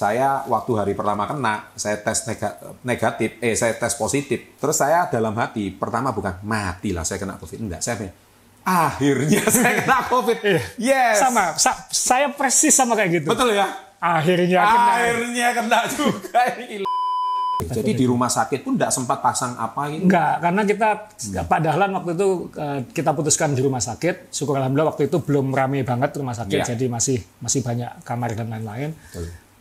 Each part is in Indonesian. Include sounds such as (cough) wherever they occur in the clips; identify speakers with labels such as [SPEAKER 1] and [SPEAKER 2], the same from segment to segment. [SPEAKER 1] saya waktu hari pertama kena saya tes nega- negatif eh saya tes positif terus saya dalam hati pertama bukan mati lah saya kena covid enggak saya pikir, akhirnya (laughs) saya kena covid yes
[SPEAKER 2] Iya. Sama, sa- saya persis sama kayak gitu.
[SPEAKER 1] betul Ah, iya. ya
[SPEAKER 2] Akhirnya kena.
[SPEAKER 1] akhirnya kena juga (laughs) Ini gila. jadi di rumah sakit pun enggak sempat pasang apa ini
[SPEAKER 2] Enggak, karena kita Pak Dahlan waktu itu eh, kita putuskan di rumah sakit. Syukur alhamdulillah waktu itu belum rame banget rumah sakit,
[SPEAKER 1] Iya.
[SPEAKER 2] jadi masih masih banyak kamar dan lain-lain.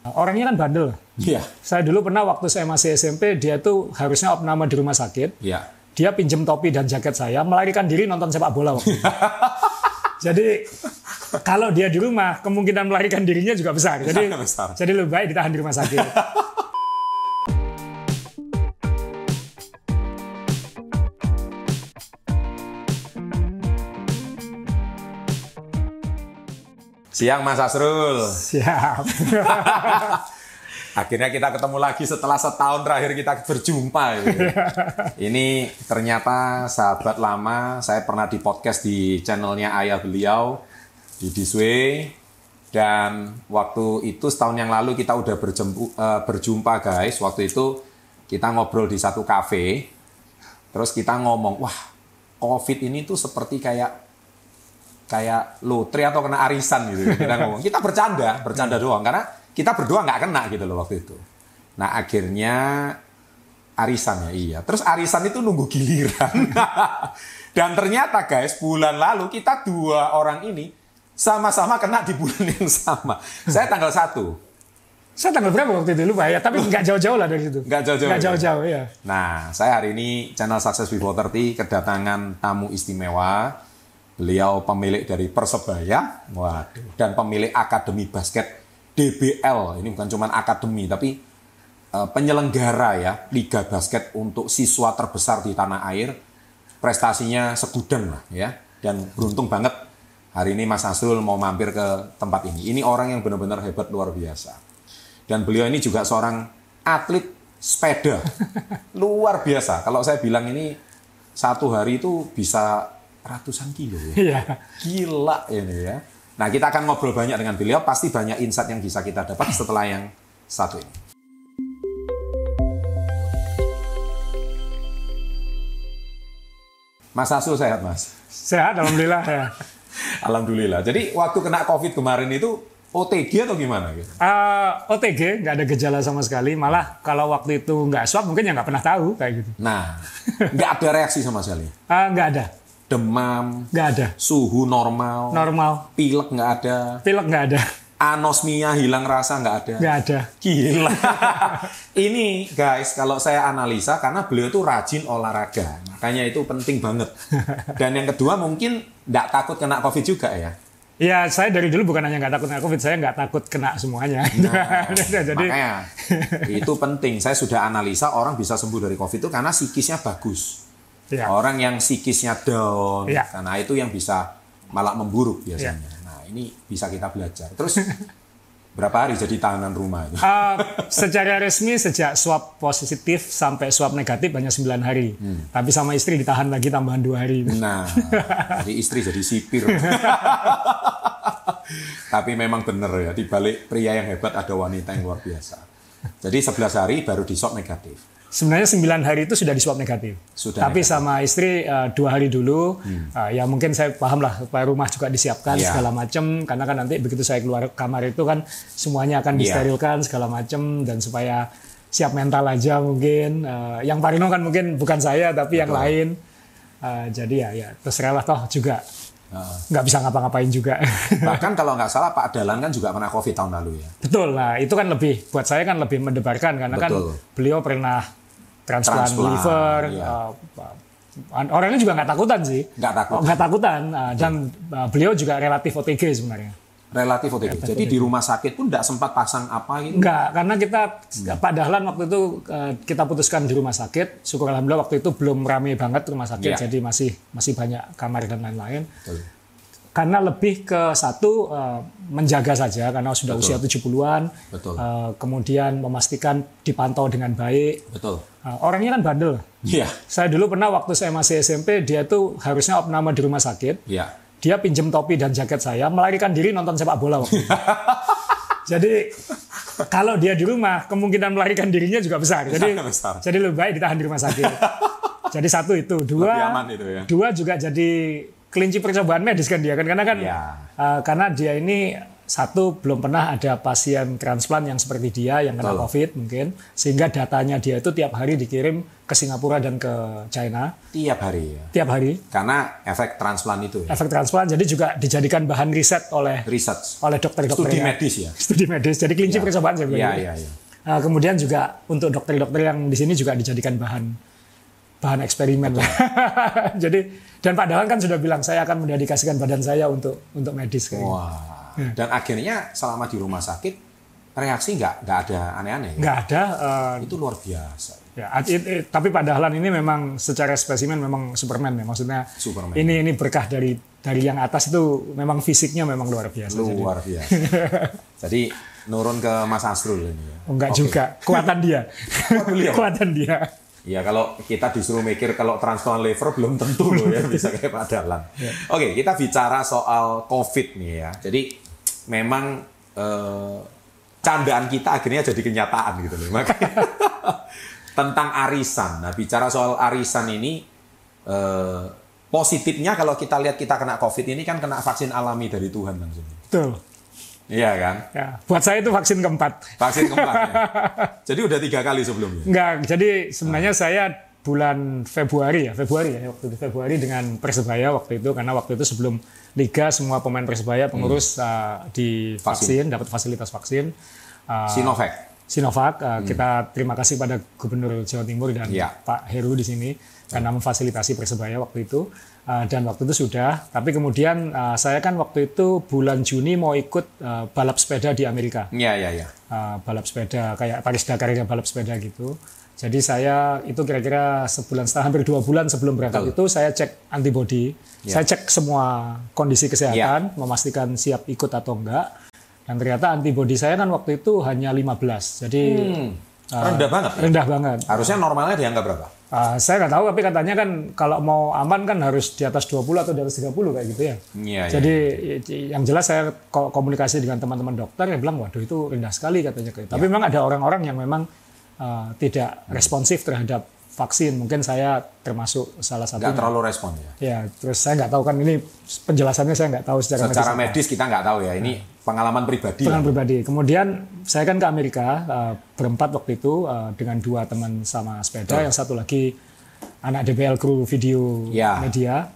[SPEAKER 2] Nah, Orangnya kan bandel.
[SPEAKER 1] iya
[SPEAKER 2] Saya dulu pernah waktu saya masih SMP, dia tuh harusnya opname di rumah sakit.
[SPEAKER 1] iya
[SPEAKER 2] Dia pinjem topi dan jaket saya, melarikan diri nonton sepak bola
[SPEAKER 1] (laughs)
[SPEAKER 2] waktu itu. Jadi kalau dia di rumah, kemungkinan melarikan dirinya juga besar. Jadi
[SPEAKER 1] (laughs) Besar.
[SPEAKER 2] jadi lebih baik ditahan di rumah sakit.
[SPEAKER 1] siang Mas Asrul
[SPEAKER 2] Siap. (laughs)
[SPEAKER 1] Akhirnya kita ketemu lagi setelah setahun terakhir kita berjumpa. gitu. Ini ternyata sahabat lama, saya pernah di podcast di channelnya ayah beliau di Disway dan waktu itu setahun yang lalu kita udah berjempu- eh, berjumpa guys. Waktu itu kita ngobrol di satu kafe, terus kita ngomong, wah COVID ini tuh seperti kayak kayak lotre atau kena arisan gitu kita ngomong kita bercanda bercanda doang karena kita berdua nggak kena gitu loh waktu itu nah akhirnya arisan ya iya terus arisan itu nunggu giliran dan ternyata guys bulan lalu kita dua orang ini sama-sama kena di bulan yang sama saya tanggal 1
[SPEAKER 2] Saya tanggal berapa waktu itu lupa ya, tapi nggak jauh-jauh lah dari situ.
[SPEAKER 1] Nggak jauh-jauh,
[SPEAKER 2] Nggak
[SPEAKER 1] ya.
[SPEAKER 2] jauh-jauh ya.
[SPEAKER 1] Nah, saya hari ini channel Success Before 30 kedatangan tamu istimewa. Beliau pemilik dari Persebaya, waduh, dan pemilik Akademi Basket DBL. Ini bukan cuma akademi, tapi eh, penyelenggara ya Liga Basket untuk siswa terbesar di tanah air. Prestasinya segudang lah ya. Dan beruntung banget hari ini Mas Asrul mau mampir ke tempat ini. Ini orang yang benar-benar hebat luar biasa. Dan beliau ini juga seorang atlet sepeda. Luar biasa. Kalau saya bilang ini satu hari itu bisa ratusan kilo ya.
[SPEAKER 2] Iya.
[SPEAKER 1] Gila ini ya. Nah, kita akan ngobrol banyak dengan beliau, pasti banyak insight yang bisa kita dapat setelah yang satu ini. Mas Asul sehat, Mas.
[SPEAKER 2] Sehat, alhamdulillah ya.
[SPEAKER 1] Alhamdulillah. Jadi waktu kena Covid kemarin itu OTG atau gimana gitu?
[SPEAKER 2] Eh, OTG nggak ada gejala sama sekali, malah kalau waktu itu nggak swab mungkin ya nggak pernah tahu kayak gitu.
[SPEAKER 1] Nah, nggak ada reaksi sama sekali.
[SPEAKER 2] Eh, Nggak ada,
[SPEAKER 1] demam,
[SPEAKER 2] nggak ada.
[SPEAKER 1] suhu normal,
[SPEAKER 2] Normal,
[SPEAKER 1] pilek nggak ada,
[SPEAKER 2] pilek nggak ada,
[SPEAKER 1] anosmia hilang rasa nggak ada.
[SPEAKER 2] nggak ada.
[SPEAKER 1] Gila. (laughs) Ini guys, kalau saya analisa karena beliau tuh rajin olahraga, makanya itu penting
[SPEAKER 2] (laughs)
[SPEAKER 1] banget. Dan yang kedua mungkin nggak takut kena covid juga
[SPEAKER 2] (laughs)
[SPEAKER 1] ya.
[SPEAKER 2] Ya saya dari dulu bukan hanya nggak takut kena covid, saya nggak takut kena semuanya. (laughs) Jadi
[SPEAKER 1] Nah, Makanya itu penting. Saya sudah analisa orang bisa sembuh dari covid itu karena psikisnya bagus.
[SPEAKER 2] ya.
[SPEAKER 1] Orang yang psikisnya down,
[SPEAKER 2] Iya.
[SPEAKER 1] karena itu yang bisa malah memburuk biasanya.
[SPEAKER 2] Ya.
[SPEAKER 1] Nah ini bisa kita belajar. Terus (laughs) berapa hari jadi tahanan rumah itu?
[SPEAKER 2] Eh, secara resmi sejak swab positif sampai swab negatif hanya 9 hari.
[SPEAKER 1] Hmm.
[SPEAKER 2] Tapi sama istri ditahan lagi tambahan dua hari. (laughs)
[SPEAKER 1] Nah, jadi istri jadi sipir. Tapi memang benar ya, di balik pria yang hebat ada wanita yang luar biasa. Jadi 11 hari baru di swab negatif.
[SPEAKER 2] Sebenarnya 9 hari itu sudah di swab negatif.
[SPEAKER 1] Sudah
[SPEAKER 2] Tapi
[SPEAKER 1] negatif. Hmm.
[SPEAKER 2] sama istri eh, dua hari dulu. Eh, ya mungkin saya paham lah supaya rumah juga disiapkan
[SPEAKER 1] Iya.
[SPEAKER 2] segala macam karena kan nanti begitu saya keluar kamar itu kan semuanya akan
[SPEAKER 1] Iya.
[SPEAKER 2] disterilkan segala macam dan supaya siap mental aja mungkin. Eh, yang Parino kan mungkin bukan saya tapi yang lain. Eh, jadi ya ya terserah lah toh juga nggak bisa ngapa-ngapain juga.
[SPEAKER 1] Nah,
[SPEAKER 2] (laughs)
[SPEAKER 1] Bahkan kalau nggak salah Pak Dalan kan juga pernah covid tahun lalu ya.
[SPEAKER 2] Betul lah, itu kan lebih buat saya kan lebih mendebarkan karena
[SPEAKER 1] Betul.
[SPEAKER 2] kan beliau pernah transplant,
[SPEAKER 1] Transplant,
[SPEAKER 2] liver.
[SPEAKER 1] iya.
[SPEAKER 2] uh, uh, orangnya juga nggak takutan sih.
[SPEAKER 1] Nggak Iya. takutan.
[SPEAKER 2] Nggak takutan uh, dan uh, beliau juga relatif OTG sebenarnya.
[SPEAKER 1] Relatif OTG.
[SPEAKER 2] Ya,
[SPEAKER 1] Jadi di rumah sakit pun nggak sempat pasang apa gitu.
[SPEAKER 2] Nggak, karena kita
[SPEAKER 1] Iya.
[SPEAKER 2] Pak Dahlan waktu itu uh, kita putuskan di rumah sakit. Syukur alhamdulillah waktu itu belum rame banget rumah sakit,
[SPEAKER 1] Iya.
[SPEAKER 2] jadi masih masih banyak kamar dan lain-lain.
[SPEAKER 1] Betul.
[SPEAKER 2] karena lebih ke satu eh, menjaga saja karena sudah usia 70-an.
[SPEAKER 1] Betul.
[SPEAKER 2] Eh, kemudian memastikan dipantau dengan baik.
[SPEAKER 1] Betul.
[SPEAKER 2] Eh, orangnya kan bandel.
[SPEAKER 1] Iya.
[SPEAKER 2] Saya dulu pernah waktu saya masih SMP, dia tuh harusnya opname di rumah sakit.
[SPEAKER 1] Iya. (laughs)
[SPEAKER 2] Dia pinjem topi dan jaket saya, melarikan diri nonton sepak bola waktu itu. Jadi kalau dia di rumah kemungkinan melarikan dirinya juga besar. Jadi
[SPEAKER 1] (laughs) Besar.
[SPEAKER 2] jadi lebih baik ditahan di
[SPEAKER 1] (laughs)
[SPEAKER 2] rumah sakit. jadi satu itu, dua
[SPEAKER 1] Lebih aman itu ya.
[SPEAKER 2] dua juga jadi kelinci percobaan medis kan dia kan karena kan
[SPEAKER 1] Iya.
[SPEAKER 2] eh, karena dia ini satu belum pernah ada pasien transplant yang seperti dia yang kena
[SPEAKER 1] Betul.
[SPEAKER 2] COVID mungkin sehingga datanya dia itu tiap hari dikirim ke Singapura dan ke China
[SPEAKER 1] Tiap hari ya.
[SPEAKER 2] tiap hari
[SPEAKER 1] Karena efek transplant itu ya.
[SPEAKER 2] efek transplant jadi juga dijadikan bahan riset oleh
[SPEAKER 1] Research.
[SPEAKER 2] oleh dokter-dokter
[SPEAKER 1] Studi
[SPEAKER 2] ya.
[SPEAKER 1] medis ya.
[SPEAKER 2] studi medis jadi kelinci percobaan saya bilang
[SPEAKER 1] Iya,
[SPEAKER 2] gitu.
[SPEAKER 1] iya, iya.
[SPEAKER 2] Nah, kemudian juga untuk dokter-dokter yang di sini juga dijadikan bahan bahan eksperimen lah. (laughs) jadi dan Pak Dahlan kan sudah bilang saya akan mendedikasikan badan saya untuk untuk medis kayak gitu.
[SPEAKER 1] Wah. Dan akhirnya selama di rumah sakit reaksi nggak nggak ada aneh-aneh. ya?
[SPEAKER 2] nggak ada eh,
[SPEAKER 1] Itu luar biasa.
[SPEAKER 2] ya, it- it- tapi Pak Dahlan ini memang secara spesimen memang Superman ya maksudnya
[SPEAKER 1] Superman.
[SPEAKER 2] ini ini berkah dari dari yang atas itu memang fisiknya memang luar biasa jadi
[SPEAKER 1] Luar
[SPEAKER 2] (laughs)
[SPEAKER 1] biasa. Jadi nurun ke Mas Asrul ini ya.
[SPEAKER 2] Oh, enggak
[SPEAKER 1] Oke.
[SPEAKER 2] juga kekuatan dia (laughs)
[SPEAKER 1] beliau.
[SPEAKER 2] kekuatan dia
[SPEAKER 1] Ya kalau kita disuruh mikir kalau transplant liver belum tentu loh ya bisa kayak Pak Dahlan. Oke, kita bicara soal COVID nih ya. Jadi memang eh, candaan kita akhirnya jadi kenyataan gitu loh. Makanya (laughs) tentang arisan. Nah, bicara soal arisan ini eh, positifnya kalau kita lihat kita kena COVID ini kan kena vaksin alami dari Tuhan langsung.
[SPEAKER 2] betul
[SPEAKER 1] Iya kan?
[SPEAKER 2] ya buat saya itu vaksin keempat
[SPEAKER 1] Vaksin keempat ya. Jadi udah tiga kali sebelumnya.
[SPEAKER 2] Enggak, jadi
[SPEAKER 1] Ah.
[SPEAKER 2] sebenarnya saya bulan Februari ya, Februari ya, waktu di Februari dengan Persebaya waktu itu karena waktu itu sebelum liga semua pemain Persebaya pengurus uh, di
[SPEAKER 1] Hmm. Vaksin.
[SPEAKER 2] vaksin, dapat fasilitas vaksin. Uh,
[SPEAKER 1] Sinovac.
[SPEAKER 2] Sinovac, uh, kita terima kasih pada Gubernur Jawa Timur dan
[SPEAKER 1] Ya.
[SPEAKER 2] Pak Heru di sini karena memfasilitasi Persebaya waktu itu Uh, dan waktu itu sudah. Tapi kemudian uh, saya kan waktu itu bulan Juni mau ikut uh, balap sepeda di Amerika
[SPEAKER 1] Iya, iya, iya.
[SPEAKER 2] uh, balap sepeda kayak Paris Dakar kayak balap sepeda gitu. Jadi saya itu kira-kira sebulan setengah hampir dua bulan sebelum berangkat itu saya cek antibody, saya cek semua kondisi kesehatan, memastikan siap ikut atau enggak. Dan ternyata antibody saya kan waktu itu hanya 15, jadi
[SPEAKER 1] Rendah banget.
[SPEAKER 2] rendah banget.
[SPEAKER 1] Harusnya normalnya di angka berapa?
[SPEAKER 2] Uh, saya nggak tahu tapi katanya kan kalau mau aman kan harus di atas 20 atau di atas 30 kayak gitu ya.
[SPEAKER 1] Iya, iya.
[SPEAKER 2] Jadi i- yang jelas saya ko- komunikasi dengan teman-teman dokter yang bilang waduh itu rendah sekali katanya. gitu. Tapi memang ada orang-orang yang memang uh, tidak responsif terhadap vaksin. Mungkin saya termasuk salah
[SPEAKER 1] nggak
[SPEAKER 2] satu.
[SPEAKER 1] terlalu respon ya.
[SPEAKER 2] Ya, terus saya nggak tahu kan ini penjelasannya saya nggak tahu secara,
[SPEAKER 1] Secara
[SPEAKER 2] medis. Nah.
[SPEAKER 1] medis kita nggak tahu ya. Ini pengalaman pribadi. ya.
[SPEAKER 2] Pengalaman pribadi. Kemudian saya kan ke Amerika eh, berempat waktu itu eh, dengan dua teman sama sepeda, yang satu lagi anak DBL kru video
[SPEAKER 1] Ya.
[SPEAKER 2] media.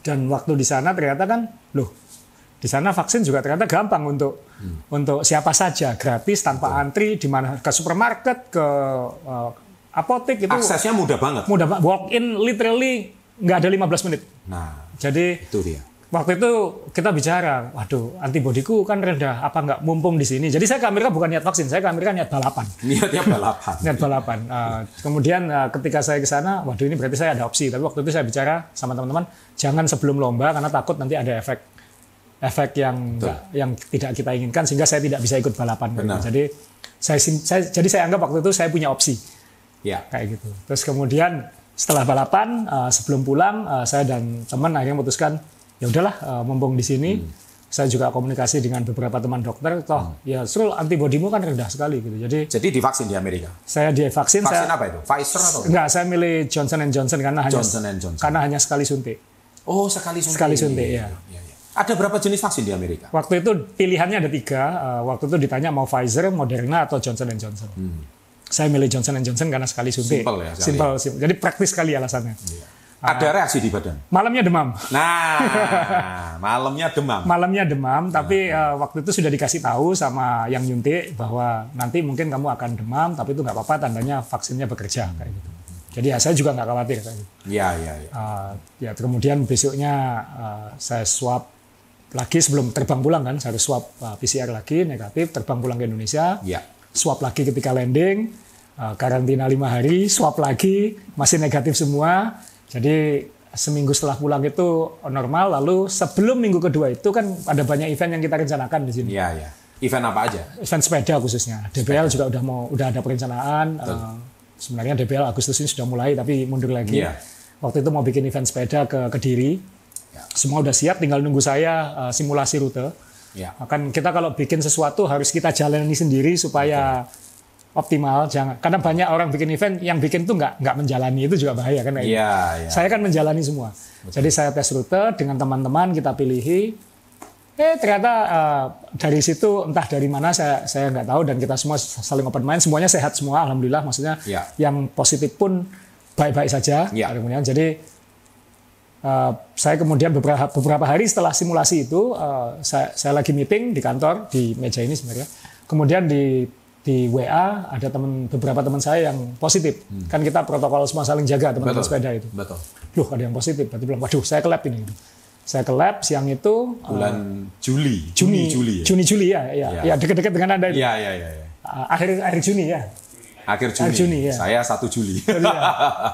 [SPEAKER 2] Dan waktu di sana ternyata kan, loh, di sana vaksin juga ternyata gampang untuk untuk siapa saja, gratis tanpa antri, di mana ke supermarket, ke eh, apotek itu
[SPEAKER 1] Aksesnya mudah banget.
[SPEAKER 2] mudah banget. Walk in literally nggak ada 15 menit.
[SPEAKER 1] Nah,
[SPEAKER 2] Jadi
[SPEAKER 1] itu dia.
[SPEAKER 2] Waktu itu kita bicara, waduh, antibodiku kan rendah, apa nggak mumpung di sini. Jadi saya ke Amerika bukan niat vaksin, saya ke Amerika niat balapan, (laughs)
[SPEAKER 1] Niatnya balapan.
[SPEAKER 2] niat balapan. Eh, kemudian eh, ketika saya ke sana, waduh ini berarti saya ada opsi. Tapi waktu itu saya bicara sama teman-teman, jangan sebelum lomba karena takut nanti ada efek efek yang nggak- yang tidak kita inginkan sehingga saya tidak bisa ikut balapan. Gitu.
[SPEAKER 1] Benar.
[SPEAKER 2] Jadi saya, sim- saya jadi saya anggap waktu itu saya punya opsi
[SPEAKER 1] Ya.
[SPEAKER 2] kayak gitu. Terus kemudian setelah balapan eh, sebelum pulang eh, saya dan teman akhirnya memutuskan ya udahlah eh, mumpung di sini
[SPEAKER 1] Hmm.
[SPEAKER 2] saya juga komunikasi dengan beberapa teman dokter toh ya Srul antibodimu kan rendah sekali gitu. Jadi
[SPEAKER 1] Jadi divaksin di Amerika.
[SPEAKER 2] saya
[SPEAKER 1] Vaksin
[SPEAKER 2] divaksin saya
[SPEAKER 1] apa itu? Pfizer atau?
[SPEAKER 2] enggak saya milih Johnson Johnson karena hanya
[SPEAKER 1] Johnson and Johnson.
[SPEAKER 2] karena hanya sekali suntik.
[SPEAKER 1] Oh, sekali suntik.
[SPEAKER 2] Sekali suntik, ya.
[SPEAKER 1] Iya, iya. Ada berapa jenis vaksin di Amerika?
[SPEAKER 2] Waktu itu pilihannya ada tiga. Eh, waktu itu ditanya mau Pfizer, Moderna atau Johnson Johnson. Saya milih Johnson Johnson karena sekali suntik.
[SPEAKER 1] Simple Hmm. ya, sekali. Hmm.
[SPEAKER 2] Simple, simple. Jadi praktis sekali alasannya. Ah.
[SPEAKER 1] Ada reaksi di badan.
[SPEAKER 2] Malamnya demam.
[SPEAKER 1] Nah,
[SPEAKER 2] (laughs)
[SPEAKER 1] malamnya demam.
[SPEAKER 2] malamnya demam tapi eh, waktu itu sudah dikasih tahu sama yang nyuntik bahwa nanti mungkin kamu akan demam tapi itu nggak apa-apa tandanya vaksinnya bekerja kayak gitu jadi ya saya juga nggak khawatir kayak gitu.
[SPEAKER 1] Ya, ya, ya.
[SPEAKER 2] Eh, ya kemudian besoknya eh, saya swab lagi sebelum terbang pulang kan saya harus swab eh, PCR lagi negatif terbang pulang ke Indonesia
[SPEAKER 1] Ya.
[SPEAKER 2] swab lagi ketika landing, eh, karantina lima hari, swab lagi, masih negatif semua. Jadi seminggu setelah pulang itu normal, lalu sebelum minggu kedua itu kan ada banyak event yang kita rencanakan di sini.
[SPEAKER 1] Ya, ya. Event apa aja?
[SPEAKER 2] Event sepeda khususnya. DBL juga udah mau udah ada perencanaan. eh, sebenarnya DBL Agustus ini sudah mulai tapi mundur lagi.
[SPEAKER 1] Iya.
[SPEAKER 2] Waktu itu mau bikin event sepeda ke Kediri.
[SPEAKER 1] Ya.
[SPEAKER 2] Semua udah siap, tinggal nunggu saya eh, simulasi rute.
[SPEAKER 1] Ya.
[SPEAKER 2] Kan kita kalau bikin sesuatu harus kita jalani sendiri supaya optimal. Jangan karena banyak orang bikin event yang bikin tuh nggak nggak menjalani itu juga bahaya kan. Iya.
[SPEAKER 1] Iya, iya.
[SPEAKER 2] Saya kan menjalani semua. Jadi saya tes rute dengan teman-teman kita pilihi. Eh ternyata eh, dari situ entah dari mana saya saya nggak tahu dan kita semua saling open mind semuanya sehat semua alhamdulillah maksudnya
[SPEAKER 1] Ya.
[SPEAKER 2] yang positif pun baik-baik saja.
[SPEAKER 1] Ya.
[SPEAKER 2] Kemudian jadi eh, saya kemudian beberapa beberapa hari setelah simulasi itu eh, saya saya lagi meeting di kantor di meja ini sebenarnya. Kemudian di di WA ada teman beberapa teman saya yang positif. Kan kita protokol semua saling jaga teman-teman sepeda itu
[SPEAKER 1] Hmm.
[SPEAKER 2] Ah.
[SPEAKER 1] Betul.
[SPEAKER 2] loh ada yang positif berarti bilang waduh saya ke lab ini saya ke lab siang itu uh,
[SPEAKER 1] Bulan Juli, Juni, Juli. ya?
[SPEAKER 2] Juni Juli ya ya
[SPEAKER 1] Iya.
[SPEAKER 2] ya dekat-dekat dengan anda itu.
[SPEAKER 1] Iya, iya, iya. iya.
[SPEAKER 2] Uh, akhir akhir Juni ya
[SPEAKER 1] Akhir Juni.
[SPEAKER 2] Akhir Juni, ya.
[SPEAKER 1] Saya 1 Juli.
[SPEAKER 2] Iya.
[SPEAKER 1] (laughs)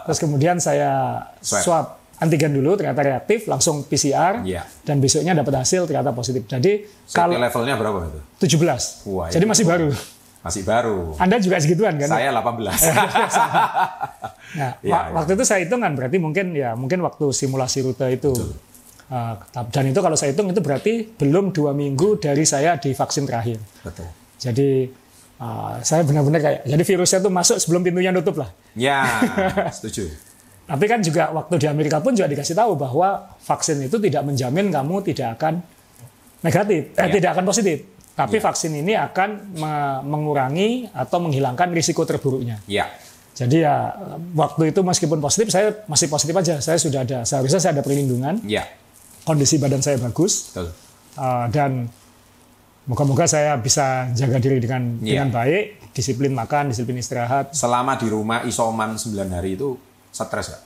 [SPEAKER 2] terus kemudian saya
[SPEAKER 1] Ah. Swab.
[SPEAKER 2] swab. antigen dulu ternyata reaktif langsung PCR
[SPEAKER 1] Iya.
[SPEAKER 2] dan besoknya dapat hasil ternyata positif jadi
[SPEAKER 1] Sampai
[SPEAKER 2] kalau
[SPEAKER 1] levelnya berapa itu?
[SPEAKER 2] 17
[SPEAKER 1] Wah,
[SPEAKER 2] jadi
[SPEAKER 1] itu
[SPEAKER 2] masih baru
[SPEAKER 1] Masih baru.
[SPEAKER 2] anda juga segituan kan
[SPEAKER 1] Saya 18.
[SPEAKER 2] (laughs) Nah,
[SPEAKER 1] Iya,
[SPEAKER 2] wa-
[SPEAKER 1] iya.
[SPEAKER 2] waktu itu saya hitungan berarti mungkin ya mungkin waktu simulasi rute itu. Uh, tap- dan itu kalau saya hitung itu berarti belum dua minggu dari saya divaksin terakhir.
[SPEAKER 1] Betul.
[SPEAKER 2] Jadi uh, saya benar-benar kayak jadi virusnya tuh masuk sebelum pintunya nutup lah.
[SPEAKER 1] Ya, setuju.
[SPEAKER 2] Tapi kan juga waktu di Amerika pun juga dikasih tahu bahwa vaksin itu tidak menjamin kamu tidak akan negatif, eh,
[SPEAKER 1] Iya.
[SPEAKER 2] tidak akan positif. Tapi vaksin ini akan me- mengurangi atau menghilangkan risiko terburuknya.
[SPEAKER 1] Ya,
[SPEAKER 2] Jadi ya waktu itu meskipun positif saya masih positif aja. Saya sudah ada seharusnya saya ada perlindungan.
[SPEAKER 1] ya,
[SPEAKER 2] Kondisi badan saya bagus
[SPEAKER 1] betul.
[SPEAKER 2] eh, dan moga-moga saya bisa jaga diri dengan
[SPEAKER 1] Iya.
[SPEAKER 2] dengan baik, disiplin makan, disiplin istirahat.
[SPEAKER 1] Selama di rumah isoman 9 hari itu stres nggak?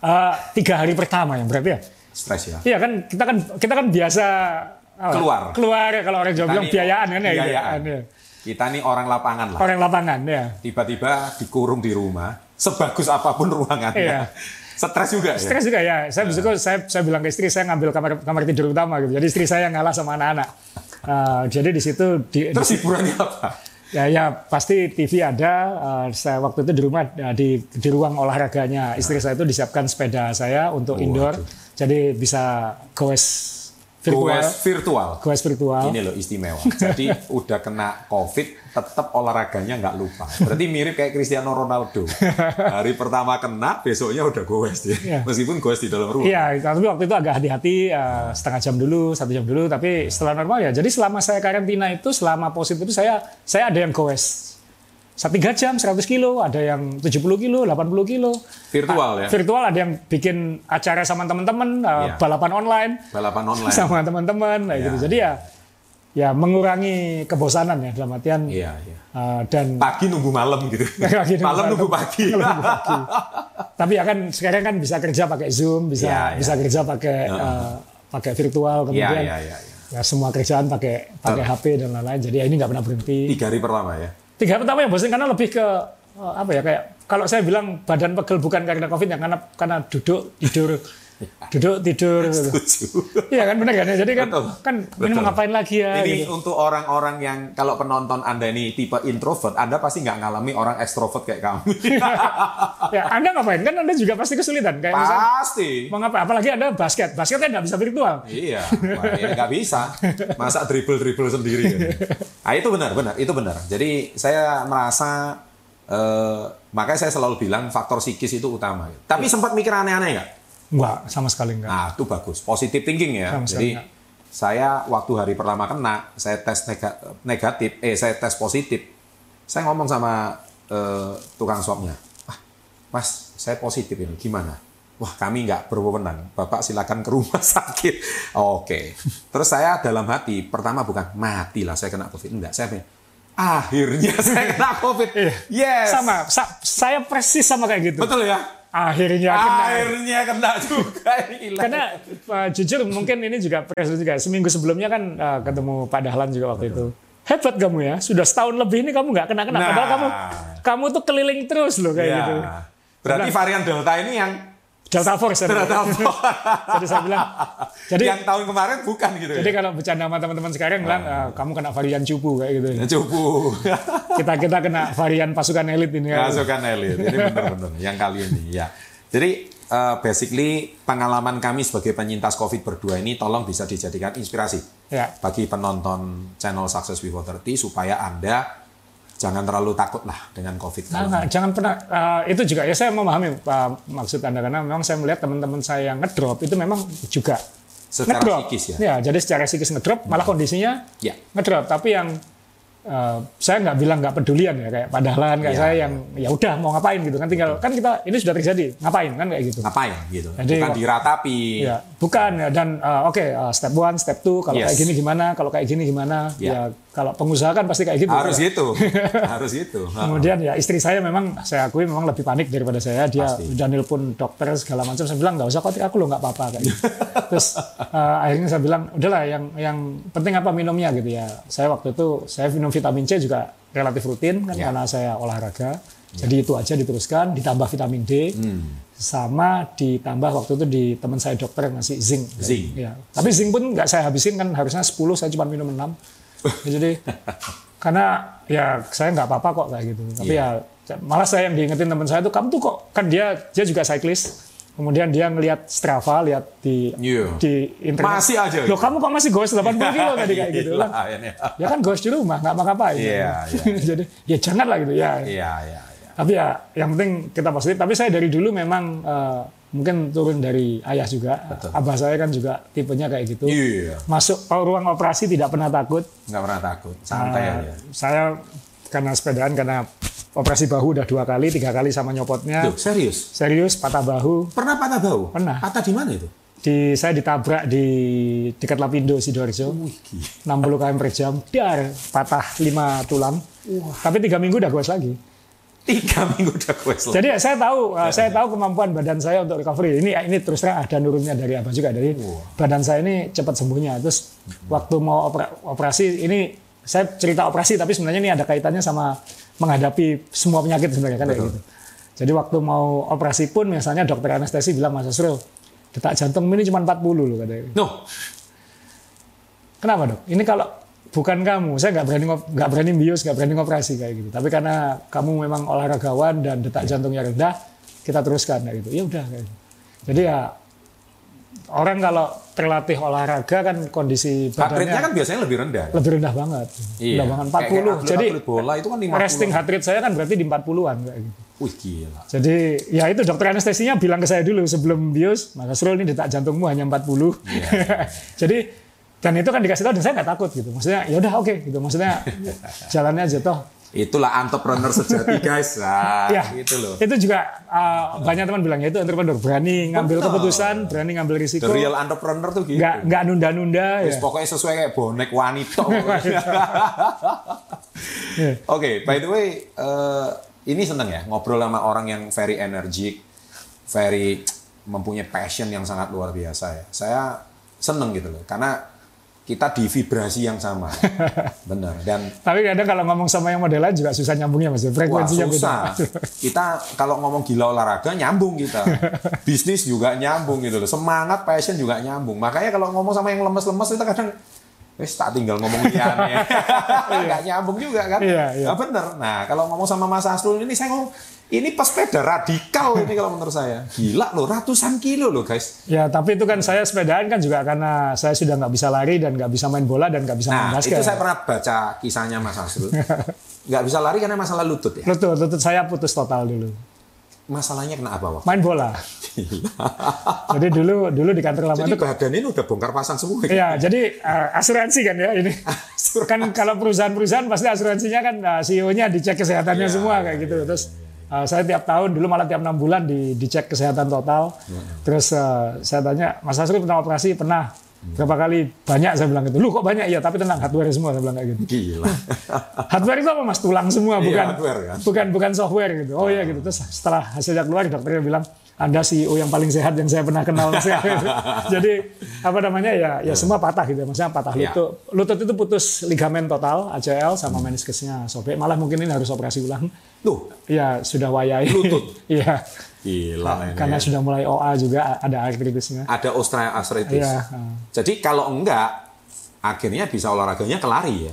[SPEAKER 2] Eh, tiga hari pertama yang berarti ya.
[SPEAKER 1] Stres ya.
[SPEAKER 2] Iya kan kita kan kita kan biasa apa,
[SPEAKER 1] Keluar.
[SPEAKER 2] Keluar ya, kalau orang Jawa
[SPEAKER 1] Kita
[SPEAKER 2] bilang
[SPEAKER 1] nih,
[SPEAKER 2] biayaan kan ya.
[SPEAKER 1] biayaan.
[SPEAKER 2] gitu. Ya.
[SPEAKER 1] Kita nih orang lapangan lah.
[SPEAKER 2] Orang lapangan ya.
[SPEAKER 1] Tiba-tiba dikurung di rumah, sebagus apapun ruangannya.
[SPEAKER 2] Iya.
[SPEAKER 1] Stres juga ya?
[SPEAKER 2] Stres juga ya. Saya besok saya saya bilang ke istri saya ngambil kamar kamar tidur utama gitu. Jadi istri saya ngalah sama anak-anak. Eh, jadi di situ di,
[SPEAKER 1] Terus hiburannya apa?
[SPEAKER 2] Ya, ya pasti TV ada. Eh, saya waktu itu di rumah eh, di di ruang olahraganya istri saya itu disiapkan sepeda saya untuk indoor. Jadi bisa goes virtual,
[SPEAKER 1] Goes virtual.
[SPEAKER 2] goes virtual.
[SPEAKER 1] Ini loh istimewa.
[SPEAKER 2] (laughs)
[SPEAKER 1] Jadi udah kena COVID, tetap olahraganya nggak lupa. Berarti mirip kayak Cristiano
[SPEAKER 2] (laughs)
[SPEAKER 1] Ronaldo. Hari pertama kena, besoknya udah goes dia.
[SPEAKER 2] Iya.
[SPEAKER 1] Meskipun goes di dalam rumah.
[SPEAKER 2] Iya, tapi waktu itu agak hati-hati eh, setengah jam dulu, satu jam dulu. Tapi setelah normal ya. Jadi selama saya karantina itu, selama positif itu saya saya ada yang goes. Satu tiga jam 100 kilo, ada yang 70 kilo, 80 kilo.
[SPEAKER 1] Virtual ya?
[SPEAKER 2] Virtual ada yang bikin acara sama teman-teman, eh,
[SPEAKER 1] Iya.
[SPEAKER 2] balapan online.
[SPEAKER 1] Balapan online.
[SPEAKER 2] (laughs) sama teman-teman kayak gitu. Jadi ya ya mengurangi kebosanan ya dalam artian
[SPEAKER 1] Iya, iya.
[SPEAKER 2] uh, (laughs) dan
[SPEAKER 1] Pagi nunggu malam gitu.
[SPEAKER 2] Pagi
[SPEAKER 1] malam
[SPEAKER 2] nunggu malam.
[SPEAKER 1] nunggu
[SPEAKER 2] (laughs)
[SPEAKER 1] pagi.
[SPEAKER 2] tapi ya kan sekarang kan bisa kerja pakai Zoom, bisa
[SPEAKER 1] Iya, iya.
[SPEAKER 2] bisa kerja pakai uh, pakai
[SPEAKER 1] (laughs)
[SPEAKER 2] virtual
[SPEAKER 1] Iya,
[SPEAKER 2] kemudian
[SPEAKER 1] iya, iya. iya.
[SPEAKER 2] ya semua kerjaan pakai pakai HP dan lain-lain. Jadi ya ini nggak pernah berhenti.
[SPEAKER 1] Tiga hari pertama ya. (laughs)
[SPEAKER 2] Tiga pertama yang bosan karena lebih ke uh, apa ya kayak kalau saya bilang badan pegel bukan karena covid ya karena karena duduk tidur duduk tidur gitu.
[SPEAKER 1] Tujuh.
[SPEAKER 2] Iya kan benar kan ya. Jadi kan
[SPEAKER 1] Betul.
[SPEAKER 2] kan ini
[SPEAKER 1] Betul.
[SPEAKER 2] mau ngapain lagi ya
[SPEAKER 1] Ini
[SPEAKER 2] gitu.
[SPEAKER 1] untuk orang-orang yang kalau penonton Anda ini tipe introvert, Anda pasti nggak ngalami orang ekstrovert kayak
[SPEAKER 2] (laughs)
[SPEAKER 1] kami.
[SPEAKER 2] ya Anda ngapain kan Anda juga pasti kesulitan kayak misalnya
[SPEAKER 1] pasti.
[SPEAKER 2] Mengapa? Apalagi ada basket. Basket kan nggak bisa virtual.
[SPEAKER 1] Iya, wah, ya nggak bisa. Masa dribble-dribble sendiri. kan? Ah, itu benar, benar, itu benar. Jadi saya merasa, eh, makanya saya selalu bilang faktor psikis itu utama. Tapi sempat mikir aneh-aneh nggak?
[SPEAKER 2] Enggak, sama sekali enggak.
[SPEAKER 1] Nah, itu bagus. Positive thinking ya.
[SPEAKER 2] Sama sekali
[SPEAKER 1] Jadi
[SPEAKER 2] enggak.
[SPEAKER 1] saya waktu hari pertama kena, saya tes nega- negatif, eh saya tes positif. Saya ngomong sama eh, tukang swabnya, ah, Mas, saya positif ini, gimana? Wah, kami nggak berwenang. Bapak silakan ke rumah (laughs) sakit. Oke. Terus saya dalam hati, pertama bukan matilah saya kena COVID. Enggak, saya pengen, akhirnya saya kena COVID. Yes.
[SPEAKER 2] Iya. Sama, sa- saya persis sama kayak gitu.
[SPEAKER 1] Betul ya?
[SPEAKER 2] Akhirnya kena.
[SPEAKER 1] Akhirnya kena juga. Gila.
[SPEAKER 2] Karena uh, jujur mungkin ini juga presiden juga. Seminggu sebelumnya kan uh, ketemu Pak Dahlan juga waktu itu. Hebat kamu ya, sudah setahun lebih ini kamu nggak kena-kena.
[SPEAKER 1] Nah.
[SPEAKER 2] Padahal kamu kamu tuh keliling terus loh kayak
[SPEAKER 1] Ya.
[SPEAKER 2] gitu.
[SPEAKER 1] Berarti varian Delta ini yang
[SPEAKER 2] Delta Force. saya bilang.
[SPEAKER 1] Delta Force.
[SPEAKER 2] Jadi saya
[SPEAKER 1] (laughs)
[SPEAKER 2] bilang. (laughs) Jadi
[SPEAKER 1] yang tahun kemarin bukan gitu
[SPEAKER 2] jadi
[SPEAKER 1] ya.
[SPEAKER 2] kalau bercanda sama teman-teman sekarang
[SPEAKER 1] Ah.
[SPEAKER 2] bilang uh, kamu kena varian cupu kayak gitu.
[SPEAKER 1] Ya, Cupu. (laughs)
[SPEAKER 2] Kita kita kena varian pasukan elit ini. gitu.
[SPEAKER 1] Pasukan elit. Ini benar-benar yang kali ini ya. iya. Jadi eh, basically pengalaman kami sebagai penyintas COVID berdua ini tolong bisa dijadikan inspirasi
[SPEAKER 2] Ya.
[SPEAKER 1] bagi penonton channel Success Before 30 supaya Anda jangan terlalu takut lah dengan COVID.
[SPEAKER 2] Nah, nggak, jangan pernah eh, itu juga ya saya memahami eh, maksud anda karena memang saya melihat teman-teman saya yang ngedrop itu memang juga
[SPEAKER 1] Secara
[SPEAKER 2] ngedrop.
[SPEAKER 1] psikis ya. Hmm.
[SPEAKER 2] Ya, jadi secara psikis ngedrop malah kondisinya
[SPEAKER 1] Ya.
[SPEAKER 2] ngedrop tapi yang eh, saya nggak bilang nggak pedulian ya kayak padahal kayak
[SPEAKER 1] Iya.
[SPEAKER 2] saya yang ya udah mau ngapain gitu kan tinggal kan kita ini sudah terjadi ngapain kan kayak gitu.
[SPEAKER 1] Ngapain gitu.
[SPEAKER 2] Jadi,
[SPEAKER 1] Bukan
[SPEAKER 2] Pak-
[SPEAKER 1] diratapi.
[SPEAKER 2] Ya, bukan ya dan eh, oke eh, step one, step two kalau
[SPEAKER 1] Yes.
[SPEAKER 2] kayak gini gimana, kalau kayak gini gimana.
[SPEAKER 1] Ya.
[SPEAKER 2] Ya kalau pengusaha kan pasti kayak gitu.
[SPEAKER 1] Harus
[SPEAKER 2] ya. (laughs)
[SPEAKER 1] gitu. Harus gitu. Ha.
[SPEAKER 2] Kemudian ya istri saya memang saya akui memang lebih panik daripada saya. Dia
[SPEAKER 1] Pasti.
[SPEAKER 2] udah nelpon dokter segala macam. Saya bilang nggak usah khawatir, aku loh nggak apa-apa kayak.
[SPEAKER 1] (laughs)
[SPEAKER 2] gitu. Terus eh, akhirnya saya bilang udahlah yang yang penting apa minumnya gitu ya. Saya waktu itu saya minum vitamin C juga relatif rutin kan
[SPEAKER 1] Ya.
[SPEAKER 2] karena saya olahraga. Jadi itu aja diteruskan ditambah vitamin D.
[SPEAKER 1] Hmm.
[SPEAKER 2] Sama ditambah waktu itu di teman saya dokter yang ngasih zinc.
[SPEAKER 1] Zinc.
[SPEAKER 2] Ya. Tapi zinc pun nggak saya habisin kan harusnya 10 saya cuma minum
[SPEAKER 1] (laughs)
[SPEAKER 2] 6. Jadi karena ya saya nggak apa-apa kok kayak gitu. Tapi
[SPEAKER 1] Iya.
[SPEAKER 2] ya malah saya yang diingetin teman saya tuh kamu tuh kok kan dia dia juga cyclist. Kemudian dia ngelihat Strava, lihat di
[SPEAKER 1] Iya.
[SPEAKER 2] di internet.
[SPEAKER 1] Masih aja gitu."
[SPEAKER 2] Loh kamu kok masih goes 80
[SPEAKER 1] (laughs)
[SPEAKER 2] kilo tadi kayak gitu.
[SPEAKER 1] Gila,
[SPEAKER 2] Lah,
[SPEAKER 1] ya, nih.
[SPEAKER 2] ya kan goes di rumah, nggak makan apa
[SPEAKER 1] Iya,
[SPEAKER 2] (laughs)
[SPEAKER 1] iya.
[SPEAKER 2] Jadi ya jangan lah gitu ya.
[SPEAKER 1] Iya, iya, iya.
[SPEAKER 2] Tapi ya yang penting kita positif. Tapi saya dari dulu memang eh, mungkin turun dari ayah juga. Abah saya kan juga tipenya kayak gitu.
[SPEAKER 1] Iya.
[SPEAKER 2] Masuk ruang operasi tidak pernah takut.
[SPEAKER 1] Nggak pernah takut. Santai
[SPEAKER 2] Nah,
[SPEAKER 1] aja.
[SPEAKER 2] Saya karena sepedaan karena operasi bahu udah dua kali, tiga kali sama nyopotnya.
[SPEAKER 1] Tuh, serius.
[SPEAKER 2] Serius patah bahu.
[SPEAKER 1] Pernah patah bau?
[SPEAKER 2] Pernah.
[SPEAKER 1] Patah di mana itu?
[SPEAKER 2] Di saya ditabrak di dekat Lapindo Sidoarjo.
[SPEAKER 1] Wih, gila.
[SPEAKER 2] 60 km per jam, dar, patah lima tulang. Tapi tiga minggu udah goes lagi.
[SPEAKER 1] Tiga (laughs) minggu udah quest
[SPEAKER 2] Jadi ya, saya tahu, uh, saya tahu kemampuan badan saya untuk recovery. Ini ini terus terang ada nurunnya dari apa juga dari badan saya ini cepat sembuhnya. Terus waktu mau opera- operasi ini saya cerita operasi tapi sebenarnya ini ada kaitannya sama menghadapi semua penyakit sebenarnya kan kayak gitu. Jadi waktu mau operasi pun misalnya dokter anestesi bilang Mas Asrul, detak jantung ini cuma 40 loh katanya.
[SPEAKER 1] No,
[SPEAKER 2] Kenapa dok? Ini kalau bukan kamu, saya nggak berani ngop- nggak berani bius, nggak berani operasi kayak gitu. Tapi karena kamu memang olahragawan dan detak jantungnya rendah, kita teruskan kayak gitu. Ya udah kayak gitu. Jadi ya orang kalau terlatih olahraga kan kondisi
[SPEAKER 1] heart rate-nya
[SPEAKER 2] badannya
[SPEAKER 1] kan biasanya lebih rendah. ya?
[SPEAKER 2] lebih rendah banget. Rendah banget
[SPEAKER 1] Kayak- kayak
[SPEAKER 2] 40.
[SPEAKER 1] atlet-
[SPEAKER 2] Jadi
[SPEAKER 1] atlet bola itu kan 50.
[SPEAKER 2] resting heart rate saya kan berarti di 40-an kayak gitu.
[SPEAKER 1] Wih, gila.
[SPEAKER 2] Jadi ya itu dokter anestesinya bilang ke saya dulu sebelum bius, Mas Asrul ini detak jantungmu hanya 40.
[SPEAKER 1] Iya.
[SPEAKER 2] (laughs) Jadi dan itu kan dikasih tahu dan saya nggak takut gitu. Maksudnya ya udah oke gitu. Maksudnya jalannya aja toh.
[SPEAKER 1] Itulah entrepreneur sejati, guys.
[SPEAKER 2] (laughs)
[SPEAKER 1] Nah,
[SPEAKER 2] Ya,
[SPEAKER 1] gitu loh.
[SPEAKER 2] Itu juga uh, banyak teman bilang ya itu entrepreneur berani ngambil
[SPEAKER 1] Betul.
[SPEAKER 2] keputusan, berani ngambil
[SPEAKER 1] The
[SPEAKER 2] risiko,
[SPEAKER 1] real entrepreneur tuh gitu.
[SPEAKER 2] nggak nggak nunda-nunda ya.
[SPEAKER 1] Terus pokoknya sesuai kayak bonek wanita. pokoknya.
[SPEAKER 2] Iya.
[SPEAKER 1] (laughs) Oke, by the way, eh, ini seneng ya ngobrol sama orang yang very energik, very mempunyai passion yang sangat luar biasa ya. Saya seneng gitu loh, karena kita di vibrasi yang sama, (laughs) bener. Dan
[SPEAKER 2] Tapi kadang kalau ngomong sama yang model lain juga susah nyambungnya Mas.
[SPEAKER 1] Wah
[SPEAKER 2] Frekuensinya
[SPEAKER 1] susah.
[SPEAKER 2] beda.
[SPEAKER 1] Kita kalau ngomong gila olahraga nyambung kita. Bisnis juga nyambung gitu loh. Semangat, passion juga nyambung. Makanya kalau ngomong sama yang lemes-lemes kita kadang wis tak tinggal ngomong
[SPEAKER 2] (laughs)
[SPEAKER 1] liane. Enggak nyambung juga kan?
[SPEAKER 2] Iya, iya.
[SPEAKER 1] Nah, bener. Nah, kalau ngomong sama Mas Asrul ini saya ngomong ini pesepeda radikal ini kalau menurut saya. Gila loh, ratusan kilo loh guys.
[SPEAKER 2] Ya, tapi itu kan saya sepedaan kan juga karena saya sudah nggak bisa lari dan nggak bisa main bola dan nggak bisa main
[SPEAKER 1] Nah, itu
[SPEAKER 2] basket.
[SPEAKER 1] saya pernah baca kisahnya Mas Asrul. Nggak bisa lari karena masalah lutut ya.
[SPEAKER 2] Lutut, lutut saya putus total dulu.
[SPEAKER 1] Masalahnya kena apa (laughs) waktu?
[SPEAKER 2] Main bola. Jadi dulu dulu di kantor lama
[SPEAKER 1] Jadi
[SPEAKER 2] itu
[SPEAKER 1] badan ini udah bongkar pasang semua.
[SPEAKER 2] Iya, jadi eh, asuransi kan ya ini. Kan kalau perusahaan-perusahaan pasti asuransinya kan eh, CEO-nya dicek kesehatannya
[SPEAKER 1] Iya,
[SPEAKER 2] semua
[SPEAKER 1] iya,
[SPEAKER 2] kayak gitu. Terus eh, saya tiap tahun dulu malah tiap enam bulan di dicek kesehatan total.
[SPEAKER 1] Iya.
[SPEAKER 2] Terus eh, saya tanya, Mas Asri pernah operasi? Pernah.
[SPEAKER 1] Iya.
[SPEAKER 2] Berapa kali? Banyak saya bilang gitu. Lu kok banyak? Iya, tapi tenang hardware semua saya bilang kayak gitu. (laughs)
[SPEAKER 1] Gila.
[SPEAKER 2] Hardware itu apa mas? Tulang semua,
[SPEAKER 1] Iya,
[SPEAKER 2] bukan
[SPEAKER 1] hardware, kan? Ah.
[SPEAKER 2] bukan bukan software gitu. Oh iya gitu. Terus setelah hasilnya keluar dokternya bilang anda CEO yang paling sehat yang saya pernah
[SPEAKER 1] (laughs)
[SPEAKER 2] kenal. Mas." Jadi apa namanya ya ya semua patah gitu. Maksudnya patah
[SPEAKER 1] Iya. Hmm.
[SPEAKER 2] lutut. Lutut itu putus ligamen total ACL sama meniskusnya sobek. Malah mungkin ini harus operasi ulang.
[SPEAKER 1] Tuh,
[SPEAKER 2] Ya sudah wayai.
[SPEAKER 1] Lutut?
[SPEAKER 2] (laughs) Iya.
[SPEAKER 1] gila ini.
[SPEAKER 2] Karena
[SPEAKER 1] ya.
[SPEAKER 2] sudah mulai OA juga ada artritisnya.
[SPEAKER 1] ada osteoartritis.
[SPEAKER 2] Iya, heeh.
[SPEAKER 1] Jadi kalau enggak akhirnya bisa olahraganya kelari ya.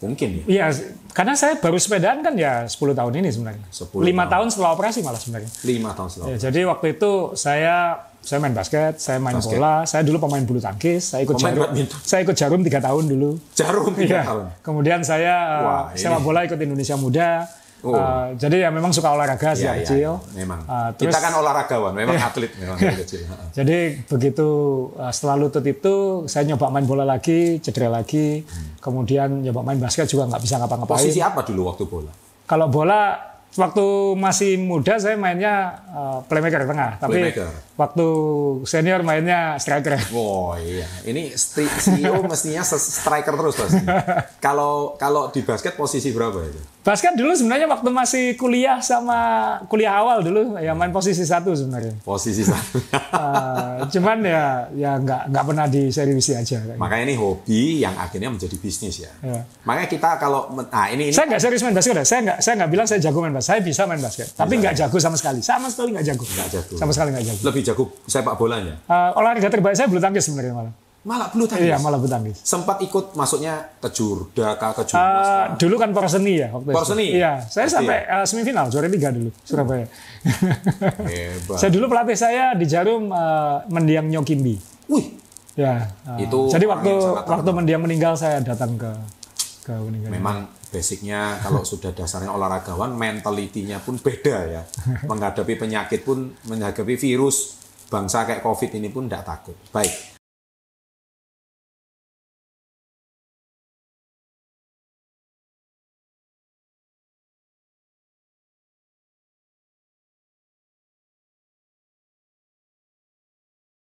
[SPEAKER 1] Mungkin ya.
[SPEAKER 2] Iya, karena saya baru sepedaan kan ya 10 tahun ini sebenarnya.
[SPEAKER 1] 10
[SPEAKER 2] Lima
[SPEAKER 1] tahun.
[SPEAKER 2] tahun setelah operasi malah sebenarnya.
[SPEAKER 1] Lima tahun silam.
[SPEAKER 2] Ya, jadi waktu itu saya saya main basket, saya main
[SPEAKER 1] Basket.
[SPEAKER 2] bola, saya dulu pemain bulu tangkis, saya ikut
[SPEAKER 1] Pemain
[SPEAKER 2] jarum,
[SPEAKER 1] badminton.
[SPEAKER 2] saya ikut jarum tiga tahun dulu.
[SPEAKER 1] Jarum tiga
[SPEAKER 2] Iya.
[SPEAKER 1] tahun.
[SPEAKER 2] Kemudian saya uh,
[SPEAKER 1] Wah, ini.
[SPEAKER 2] sepak bola ikut Indonesia Muda.
[SPEAKER 1] Oh.
[SPEAKER 2] Uh, jadi ya memang suka olahraga sejak
[SPEAKER 1] Iya, iya,
[SPEAKER 2] kecil.
[SPEAKER 1] Memang.
[SPEAKER 2] Uh, terus,
[SPEAKER 1] Kita
[SPEAKER 2] Iya.
[SPEAKER 1] kan olahragawan, memang atlet memang dari kecil. Ha-ha.
[SPEAKER 2] Jadi begitu uh, setelah lutut itu saya nyoba main bola lagi, cedera lagi. Kemudian nyoba main basket juga nggak bisa ngapa-ngapain.
[SPEAKER 1] Hmm. Posisi apa dulu waktu bola?
[SPEAKER 2] Kalau bola waktu masih muda saya mainnya uh, playmaker tengah, tapi
[SPEAKER 1] Playmaker.
[SPEAKER 2] waktu senior mainnya striker. (laughs)
[SPEAKER 1] Oh iya, ini sti- CEO mestinya se- striker terus pasti. Kalau kalau di basket posisi berapa itu?
[SPEAKER 2] Basket dulu sebenarnya waktu masih kuliah sama kuliah awal dulu ya main posisi satu sebenarnya. (laughs)
[SPEAKER 1] Posisi satu.
[SPEAKER 2] Uh, cuman ya ya nggak nggak pernah diseriusi aja. kayak gitu.
[SPEAKER 1] Makanya ini hobi yang akhirnya menjadi bisnis ya.
[SPEAKER 2] Iya.
[SPEAKER 1] Makanya kita kalau men- ah ini ini
[SPEAKER 2] Saya nggak serius main basket, ya. saya nggak saya nggak bilang saya jago main basket, saya bisa main basket, tapi nggak jago sama sekali, sama sekali nggak jago,
[SPEAKER 1] Nggak jago.
[SPEAKER 2] sama sekali nggak jago.
[SPEAKER 1] lebih jago sepak bolanya.
[SPEAKER 2] Uh, olahraga terbaik saya bulu tangkis sebenarnya malah,
[SPEAKER 1] Malah bulu tangkis.
[SPEAKER 2] iya malah bulu tangkis.
[SPEAKER 1] Sempat ikut maksudnya ke Jurda, ke ke Jurnas,
[SPEAKER 2] Eh,
[SPEAKER 1] kah?
[SPEAKER 2] dulu kan Porseni ya waktu itu.
[SPEAKER 1] Porseni?
[SPEAKER 2] Iya,
[SPEAKER 1] Pasti
[SPEAKER 2] saya
[SPEAKER 1] ya.
[SPEAKER 2] sampai eh, semifinal juara tiga dulu Surabaya.
[SPEAKER 1] Hebat.
[SPEAKER 2] (laughs) saya dulu pelatih saya di Jarum eh, Mendiang Nyokimbi.
[SPEAKER 1] Wih,
[SPEAKER 2] Ya. eh,
[SPEAKER 1] Itu
[SPEAKER 2] jadi
[SPEAKER 1] orang
[SPEAKER 2] waktu
[SPEAKER 1] yang sangat terkenal.
[SPEAKER 2] waktu Mendiang meninggal saya datang ke ke meninggal.
[SPEAKER 1] memang basicnya kalau sudah dasarnya olahragawan, mentalitinya pun beda ya. Menghadapi penyakit pun, menghadapi virus bangsa kayak COVID ini pun tidak takut. Baik.